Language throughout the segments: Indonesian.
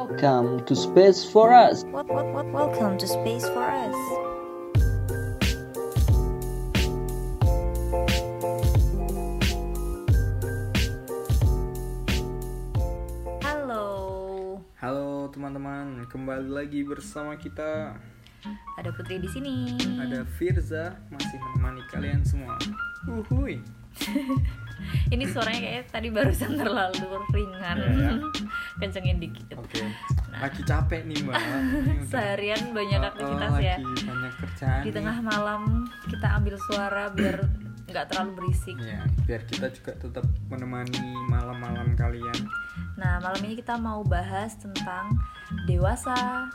Welcome to Space for Us. What, what, what, welcome to Space for Us. Halo, Halo teman-teman, kembali lagi bersama kita ada Putri di sini. Ada Firza masih menemani kalian semua Uhuy Ini suaranya kayak tadi barusan terlalu ringan. Iya, ya. Kencengin dikit. Oke, lagi capek nih mbak Ini udah- Seharian Nah. banyak Oh, oh, aktivitas ya. Lagi banyak kerjaan Di nih. tengah malam kita ambil suara biar nggak terlalu berisik. Ya, biar kita juga tetap menemani malam-malam kalian Nah, malam ini kita mau bahas tentang dewasa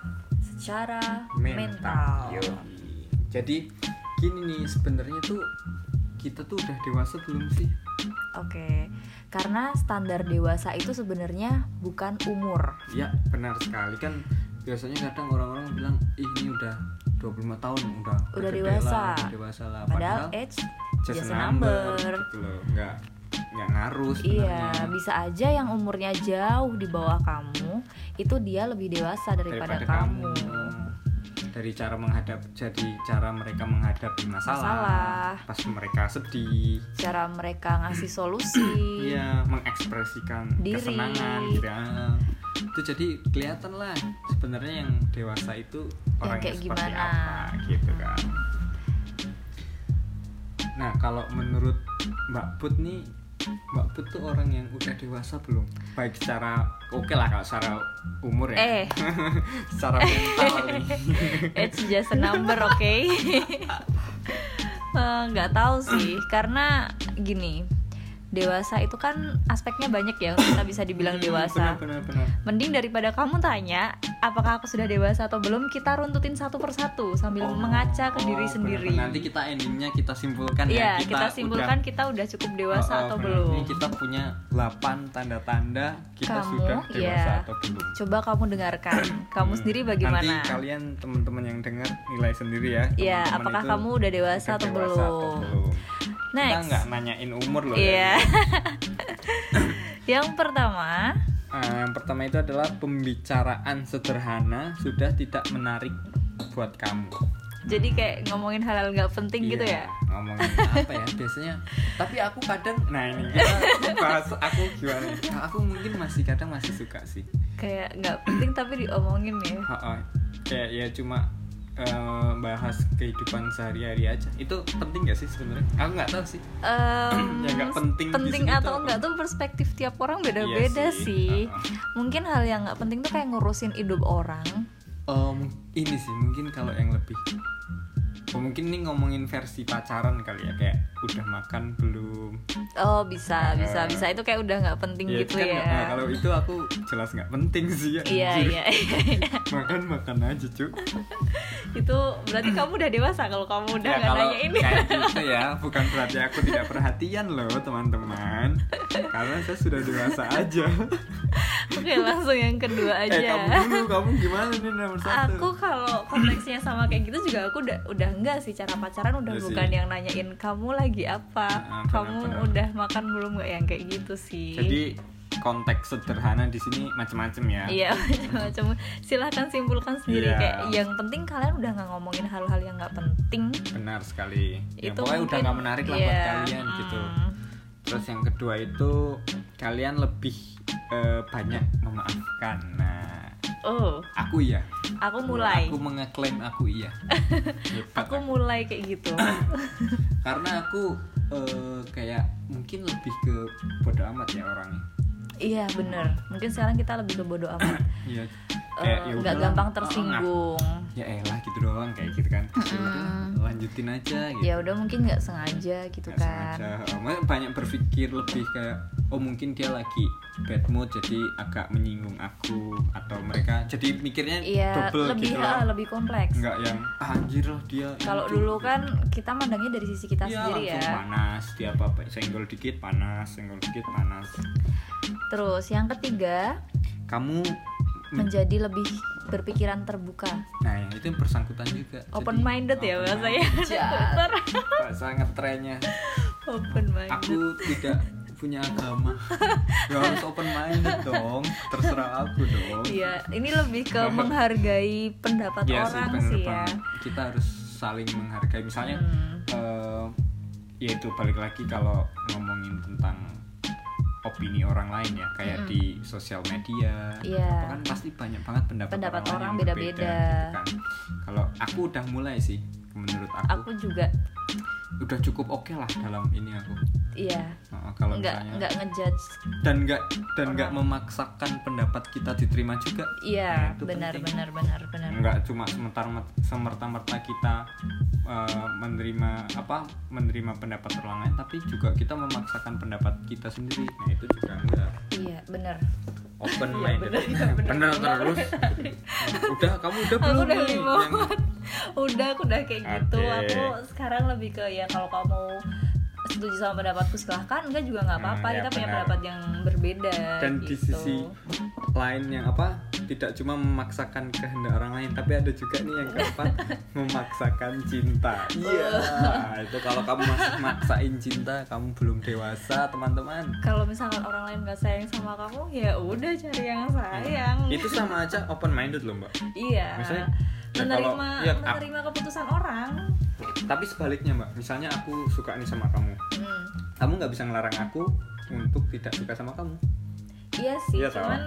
secara mental. mental. Yoi. Jadi gini nih sebenarnya tuh kita tuh udah dewasa belum sih? Oke. Karena standar dewasa itu sebenarnya bukan umur. Ya benar sekali kan biasanya kadang orang-orang bilang Ih, ini udah 25 tahun udah Udah gede dewasa. lah, udah dewasa lah Padahal age just, just a a number, number. gitu loh nggak nggak ngaruh iya, sebenarnya bisa aja yang umurnya jauh di bawah kamu, itu dia lebih dewasa daripada, kamu. dari cara menghadap jadi cara mereka menghadapi masalah, Masalah. pas mereka sedih Cara mereka ngasih solusi. Iya, mengekspresikan Diri. kesenangan gitu ya. Itu jadi kelihatan lah sebenarnya yang dewasa itu orang kayak seperti gimana. Hmm. apa gitu kan. Nah, kalau menurut Mbak Put nih Mbak Put tuh orang yang udah dewasa belum? Baik secara oke lah kalau secara umur Eh. ya. secara mental nih. It's just a number, oke? Eh, Nggak tahu sih, karena gini, dewasa itu kan aspeknya banyak ya untuk kita bisa dibilang Hmm, dewasa. Benar benar benar. Mending daripada kamu tanya apakah aku sudah dewasa atau belum, kita runtutin satu persatu sambil Oh, mengaca ke oh, diri benar, sendiri. benar. Nanti kita endingnya kita simpulkan Iya, ya. kita, udah- simpulkan kita udah cukup dewasa Oh, oh, atau benar. belum. Ini kita punya 8 tanda-tanda kita Kamu, sudah dewasa ya. atau belum. Coba kamu dengarkan, kamu Hmm. sendiri bagaimana? Nanti kalian teman-teman yang dengar nilai sendiri ya. Iya, teman-teman apakah itu kamu udah dewasa udah atau dewasa atau belum? belum. Kita Next, nggak nanyain umur loh. Iya. ya. yang pertama, Eh, yang pertama itu adalah pembicaraan sederhana sudah tidak menarik buat kamu. jadi kayak ngomongin hal-hal nggak penting gitu ya? Iya, Ngomongin apa ya biasanya? Tapi aku kadang nah ini kita bahas aku gimana? Nah, Aku mungkin masih kadang masih suka sih. kayak nggak penting tapi diomongin ya Ha, ha. kayak ya cuma eh, bahas kehidupan sehari-hari aja itu penting gak sih sebenarnya aku nggak tahu sih Em, Ya, nggak penting di penting sini atau tuh apa? enggak tuh perspektif tiap orang beda-beda Iya sih, Ha, ha. mungkin hal yang nggak penting tuh kayak ngurusin hidup orang Em, Oh, ini sih mungkin kalau yang lebih oh, mungkin ini ngomongin versi pacaran kali ya kayak udah makan belum oh bisa Eh. bisa bisa itu kayak udah nggak penting Ya, gitu kan ya nggak- nah, kalau itu aku jelas nggak penting sih ya iya anjir. iya makan makan aja cuy itu berarti kamu udah dewasa kalau kamu udah ya nggak kalau nanya ini kayak gitu ya bukan berarti aku tidak perhatian loh teman-teman karena saya sudah dewasa aja oke langsung yang kedua eh aja kamu dulu kamu gimana nih nomor satu aku kalau konteksnya sama kayak gitu juga aku udah udah enggak sih cara pacaran udah Iya sih. bukan yang nanyain kamu lagi apa Ah, kamu benar-benar. udah makan belum nggak yang kayak gitu sih jadi konteks sederhana di sini macam-macam ya Iya macam-macam. Silahkan simpulkan sendiri Iya. kayak yang penting kalian udah nggak ngomongin hal-hal yang nggak penting. benar sekali ya, itu pokoknya udah mungkin- nggak menarik lah buat Iya, kalian mm. gitu terus yang kedua itu kalian lebih eh, banyak memaafkan nah Oh, aku iya aku mulai. aku mengeklaim aku iya Hebat Aku mulai kayak gitu. karena aku eh, kayak mungkin lebih ke bodo amat ya orangnya iya bener. Mungkin sekarang kita lebih ke bodo amat. iya Eh, Kayak, ya Nggak udahlah, gampang ah, tersinggung. ya elah gitu doang kayak gitu kan Ya Mm. udah, lanjutin aja gitu Ya udah mungkin nggak sengaja gitu Nggak kan. sengaja. Oh, Maksudnya banyak berpikir lebih kayak oh mungkin dia lagi bad mood jadi agak menyinggung aku atau mereka jadi mikirnya Iya double lebih gitu ah, loh lebih kompleks. nggak yang "Ah, anjir loh dia Kalau itu." dulu Gitu. kan kita mandangnya dari sisi kita Iya, sendiri langsung ya. panas dia apa apa senggol dikit panas senggol dikit panas Terus yang ketiga Hmm. kamu menjadi lebih berpikiran terbuka. Nah, yang itu yang bersangkutan juga. Open minded ya bahasanya. bahasa Bener. Bahasa ngetrennya. Open minded. Aku tidak punya agama ya harus open minded dong terserah aku dong Iya, ini lebih ke menghargai pendapat Iya sih, orang bener sih ya. Hmm. banget. kita harus saling menghargai misalnya eh, ya itu balik lagi kalau ngomongin tentang opini orang lain ya kayak di sosial media Hmm. Iya. apa kan pasti banyak banget pendapat, Pendapat orang, orang yang beda-beda. berbeda gitu kan. kalau aku udah mulai sih menurut aku, Aku juga udah cukup oke lah dalam ini aku iya, Nah, kalau nggak misalnya nggak ngejudge. dan nggak dan nggak memaksakan pendapat kita diterima juga Nah, Iya, itu benar penting. Hmm. benar benar benar. nggak cuma sementar semerta-merta kita eh, menerima apa menerima pendapat orang lain tapi juga kita memaksakan pendapat kita sendiri nah itu juga enggak Iya, benar. open minded bener, iya, bener, bener, bener. terus udah kamu udah belum Aku udah nih? lima. udah, aku udah kayak gitu. Oke. Aku sekarang lebih ke ya kalau kamu setuju sama pendapatku silahkan enggak juga nggak apa-apa Hmm, ya, kita punya benar. pendapat yang berbeda dan di gitu. sisi lain yang apa tidak cuma memaksakan kehendak orang lain tapi ada juga nih yang keempat memaksakan cinta iya Oh. itu kalau kamu masih maksain cinta kamu belum dewasa teman-teman kalau misalkan orang lain nggak sayang sama kamu ya udah cari yang Hmm. sayang itu sama aja open minded loh mbak iya Maksudnya, ya menerima kalau- ya, ap- menerima keputusan orang tapi sebaliknya mbak misalnya aku suka nih sama kamu Hmm, kamu nggak bisa ngelarang aku untuk tidak suka sama kamu iya sih Iya, sama. cuman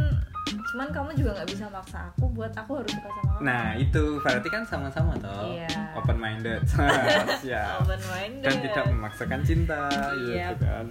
cuman kamu juga nggak bisa maksa aku buat aku harus suka sama kamu nah itu berarti kan sama-sama toh Iya. open minded siap Nah, open minded dan Kan tidak memaksakan cinta gitu Yep. kan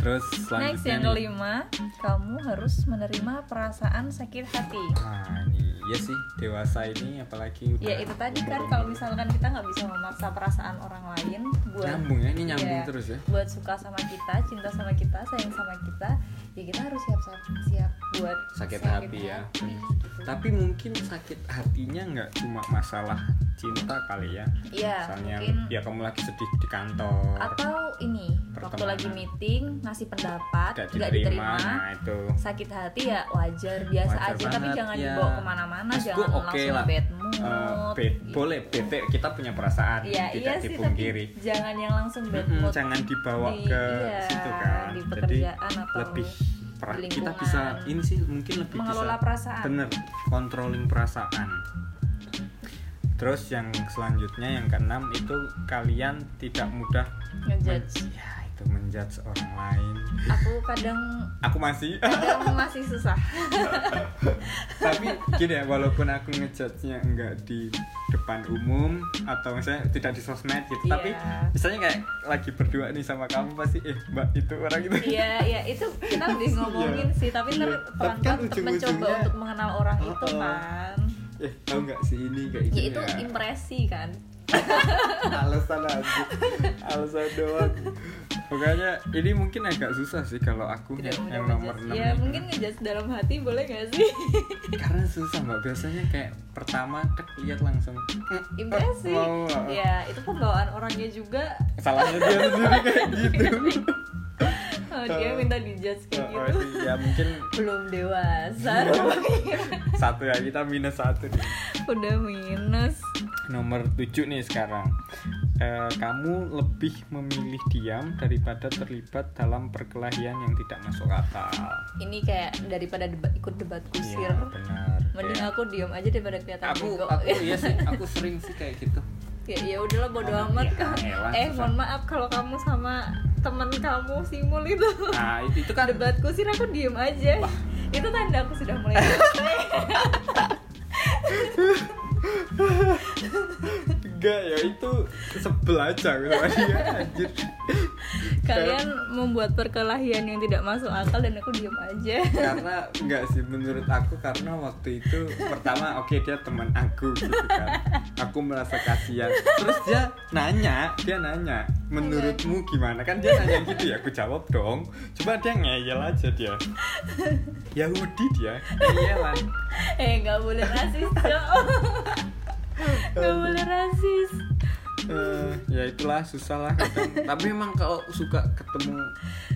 terus Iya. next selanjutnya yang nih. kelima kamu harus menerima perasaan sakit hati nah ini ya sih dewasa ini apalagi udah ya itu tadi kan umur-umur. kalau misalkan kita nggak bisa memaksa perasaan orang lain buat nyambung ya ini nyambung Iya. terus ya buat suka sama kita, cinta sama kita, sayang sama kita, ya kita harus siap siap, siap buat sakit hati ya hati, Hmm. gitu. tapi mungkin sakit hatinya nggak cuma masalah cinta kali ya Iya, misalnya mungkin ya kamu lagi sedih di kantor atau ini waktu Pertemanan. lagi meeting ngasih pendapat tidak nggak diterima, diterima, nah itu sakit hati ya wajar biasa Wajar aja tapi banget, jangan ya. dibawa kemana-mana, Maksud jangan gua oke langsung lah. bad mood. Eh, be- gitu. boleh bete kita punya perasaan Iya, iya tidak sih tapi dipungkiri jangan yang langsung bad Mm-mm, mood. jangan dibawa di- ke iya, situ kan di jadi pekerjaan atau lebih pra- di kita lingkungan. bisa ini sih mungkin lebih Mengelola bisa perasaan. bener controlling perasaan terus yang selanjutnya yang keenam itu kalian tidak mudah men- Ngejudge. ya itu menjudge orang lain Aku kadang aku masih kadang masih susah. tapi gini ya walaupun aku ngejudge-nya enggak di depan umum atau misalnya tidak di sosmed gitu Iya. tapi misalnya kayak lagi berdua nih sama kamu pasti eh mbak itu orang itu Iya, iya itu kita lebih ngomongin Iya. sih, tapi ntar Iya. Tapi kan pelan-pelan tetap mencoba ujung-ujungnya- untuk mengenal orang itu Oh, oh. kan. eh tahu nggak sih ini kayak Ya gini itu impresi kan. alasan aja alasan doang pokoknya ini mungkin agak susah sih kalau aku Tidak Iya, yang, mudah yang nomor ngejudge. 6 Ya mungkin ngejudge dalam hati boleh gak sih? karena susah mbak biasanya kayak pertama tek lihat langsung "Hmm, impresi. mau, ah. Ya itu pembawaan orangnya juga salahnya dia sendiri kayak gitu oh, dia minta dijudge Oh, kayak oh, gitu. ini ya mungkin Belum dewasa, Iya. satu ya kita minus satu nih. udah minus. nomor tujuh nih sekarang Eh, kamu lebih memilih diam daripada terlibat dalam perkelahian yang tidak masuk akal Ini kayak daripada deba- ikut debat kusir. Iya, benar Mending Kayak- aku diem aja daripada kelihatan aku bego. aku iya sih aku sering sih kayak gitu ya ya udahlah bodo Oh, amat iya, kan elah, eh susah. mohon maaf kalau kamu sama temen kamu simul itu nah itu, itu kan debat kusir aku diem aja itu tanda aku sudah mulai dewasa. enggak ya itu sebel aja gitu ya anjir kalian membuat perkelahian yang tidak masuk akal dan aku diem aja karena enggak sih menurut aku karena waktu itu pertama oke dia teman aku gitu kan aku merasa kasihan terus dia nanya dia nanya menurutmu gimana kan dia nanya gitu ya aku jawab dong cuma dia ngeyel aja dia Yahudi dia ngeyelan eh nggak boleh rasis cok nggak boleh rasis Eh, ya itulah susah lah kadang. tapi memang kalau suka ketemu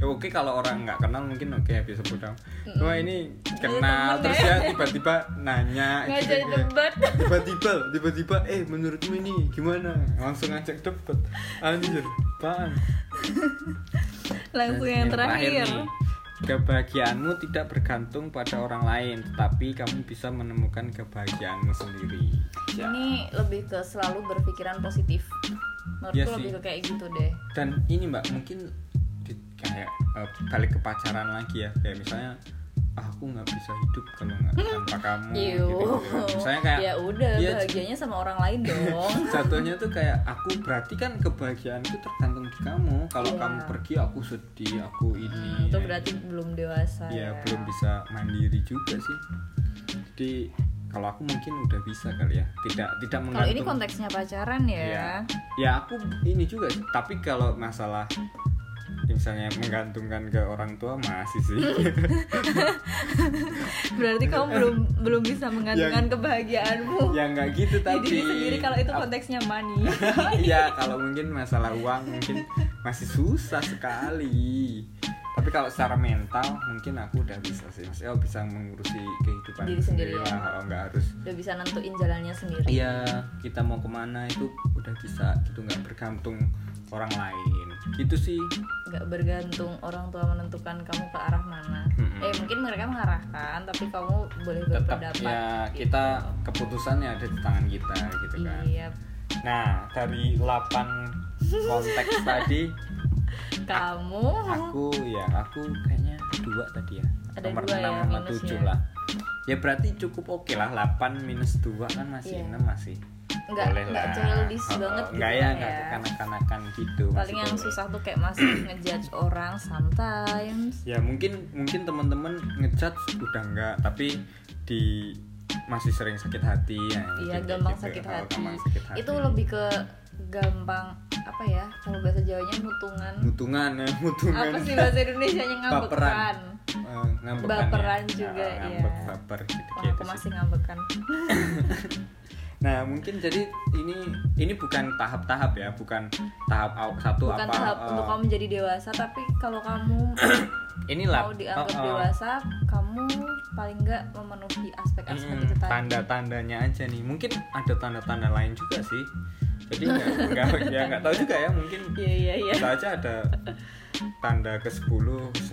ya oke kalau orang nggak kenal mungkin oke bisa bodoh wah ini kenal temen terus ya. ya tiba-tiba nanya gitu ngajak kan ya. debat tiba-tiba tiba-tiba eh menurutmu ini gimana langsung ngajak debat anjir apaan Langsung Dan yang terakhir. nih. Kebahagiaanmu tidak bergantung pada orang lain, tetapi kamu bisa menemukan kebahagiaanmu sendiri. Ya. Ini lebih ke selalu berpikiran positif. Menurutku Iya sih. lebih ke kayak gitu deh. Dan ini Mbak, mungkin di- kayak eh, balik ke pacaran lagi ya. Kayak misalnya "Ah, aku nggak bisa hidup kalau nggak tanpa kamu. Iu. gitu-gitu. Iya. Misalnya kayak Hmm. Iya, ya udah iya, bahagianya sama orang lain dong. Jatuhnya tuh kayak aku berarti kan kebahagiaanku tergantung di kamu. Kalau Iya. kamu pergi aku sedih, aku Hmm, ini. itu berarti belum dewasa. ya belum bisa mandiri juga sih. Jadi kalau aku mungkin udah bisa kali ya. Tidak tidak Kalau ini menggantung. konteksnya pacaran ya. ya. Ya aku ini juga sih. Tapi kalau masalah ya misalnya menggantungkan ke orang tua masih sih. Berarti kamu belum belum bisa menggantungkan Yang- kebahagiaanmu. ya nggak gitu Di Iya. tapi. diri sendiri kalau itu Ap- konteksnya money. Iya, kalau mungkin masalah uang mungkin masih susah sekali. Tapi kalau secara mental mungkin aku udah bisa sih. Maksudnya aku bisa mengurusi kehidupan Diri sendiri ya. lah. Kalau nggak harus Udah bisa nentuin jalannya sendiri. Iya, kita mau kemana itu udah bisa gitu nggak bergantung orang lain. Gitu sih. nggak bergantung orang tua menentukan kamu ke arah mana. Mm-mm. Eh mungkin mereka mengarahkan, tapi kamu boleh Tetap berpendapat. ya gitu. kita keputusannya ada di tangan kita gitu kan. Iya, Nah, dari 8 konteks tadi kamu kan. aku ya aku kayaknya dua tadi ya Ada nomor dua ya, enam sama minusnya. tujuh lah ya berarti cukup oke lah 8 minus 2 kan masih Iya. enam masih nggak boleh nggak lah. childish Oh, banget gitu nggak ya nggak ya. kekanak-kanakan gitu masih Paling yang boleh. susah tuh kayak masih ngejudge orang sometimes. ya mungkin mungkin teman-teman ngejudge udah enggak tapi di masih sering sakit hati ya Iya, gitu- gampang, gitu. sakit Oh, hati. gampang sakit hati. Itu lebih ke gampang apa ya? Kalau bahasa Jawanya mutungan. mutungan ya mutungan Apa sih bahasa Indonesianya Baperan. ngambekan? Eh, ngambekan ya. Baperan juga, Ah, iya. ngambek baper gitu, Wah, gitu aku sih. masih ngambekan. Nah mungkin jadi ini ini bukan tahap-tahap ya, bukan tahap aw- satu Bukan apa? tahap eh, untuk kamu menjadi dewasa, tapi kalau kamu ini lah mau dianggap eh, eh, dewasa kamu paling nggak memenuhi aspek-aspek mm, itu tadi tanda-tandanya aja nih. Mungkin ada tanda-tanda lain juga sih. Jadi nggak- nggak ya nggak tahu juga ya mungkin iya iya iya kita aja ada tanda ke 10,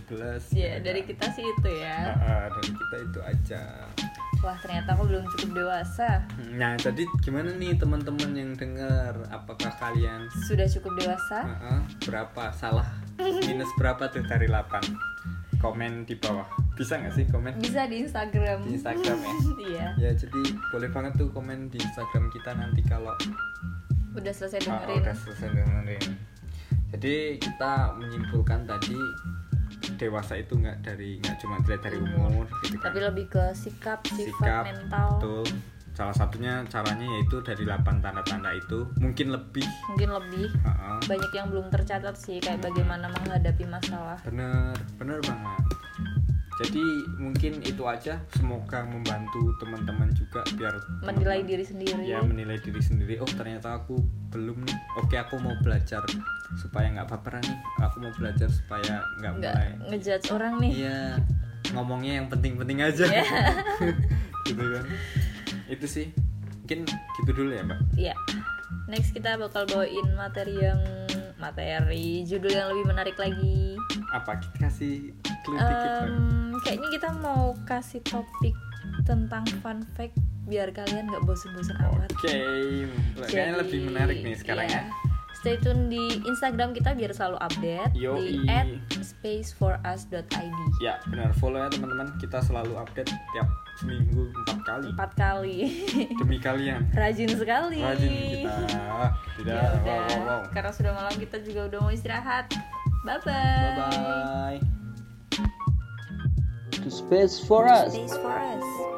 ke 11 Ya, gitu dari kan. kita sih itu Eh, ya eh, dari kita itu aja. wah ternyata aku belum cukup dewasa Nah, jadi gimana nih teman-teman yang dengar? Apakah kalian sudah cukup dewasa Heeh, berapa salah minus berapa tuh dari 8 komen di bawah bisa nggak sih komen bisa di Instagram di Instagram ya iya ya jadi boleh banget tuh komen di Instagram kita nanti kalau udah selesai ah, dengerin udah selesai dengerin jadi kita menyimpulkan tadi dewasa itu nggak dari nggak cuma dilihat dari umur gitu kan. Hmm. tapi lebih ke sikap sifat sikap mental betul salah satunya caranya yaitu dari 8 tanda-tanda itu mungkin lebih mungkin lebih Heeh. banyak yang belum tercatat sih kayak bagaimana menghadapi masalah Bener, bener banget. Jadi mungkin itu aja. Semoga membantu teman-teman juga biar menilai teman-teman- diri sendiri Ya menilai diri sendiri. Oh ternyata aku belum nih. Oke aku mau belajar supaya nggak baperan nih. Aku mau belajar supaya nggak nggak mulai. ngejudge orang nih Iya ngomongnya yang penting-penting aja. Iya. gitu kan. Itu sih mungkin gitu dulu ya mbak. Iya. Next kita bakal bawain materi yang materi judul yang lebih menarik lagi. Apa kita kasih clue dikit Mbak? Em, kayaknya kita mau kasih topik tentang fun fact biar kalian nggak bosen-bosen amat. Oke, Jadi, kayaknya lebih menarik nih sekarang iya. ya. Stay tune di Instagram kita biar selalu update di Yoi. @spaceforus.id. Ya benar follow ya teman-teman kita selalu update tiap seminggu empat kali Empat kali. demi kalian Rajin sekali. rajin kita tidak Ya udah, wow wow wow karena sudah malam kita juga udah mau istirahat. Bye-bye. bye bye To space for us. Space for us.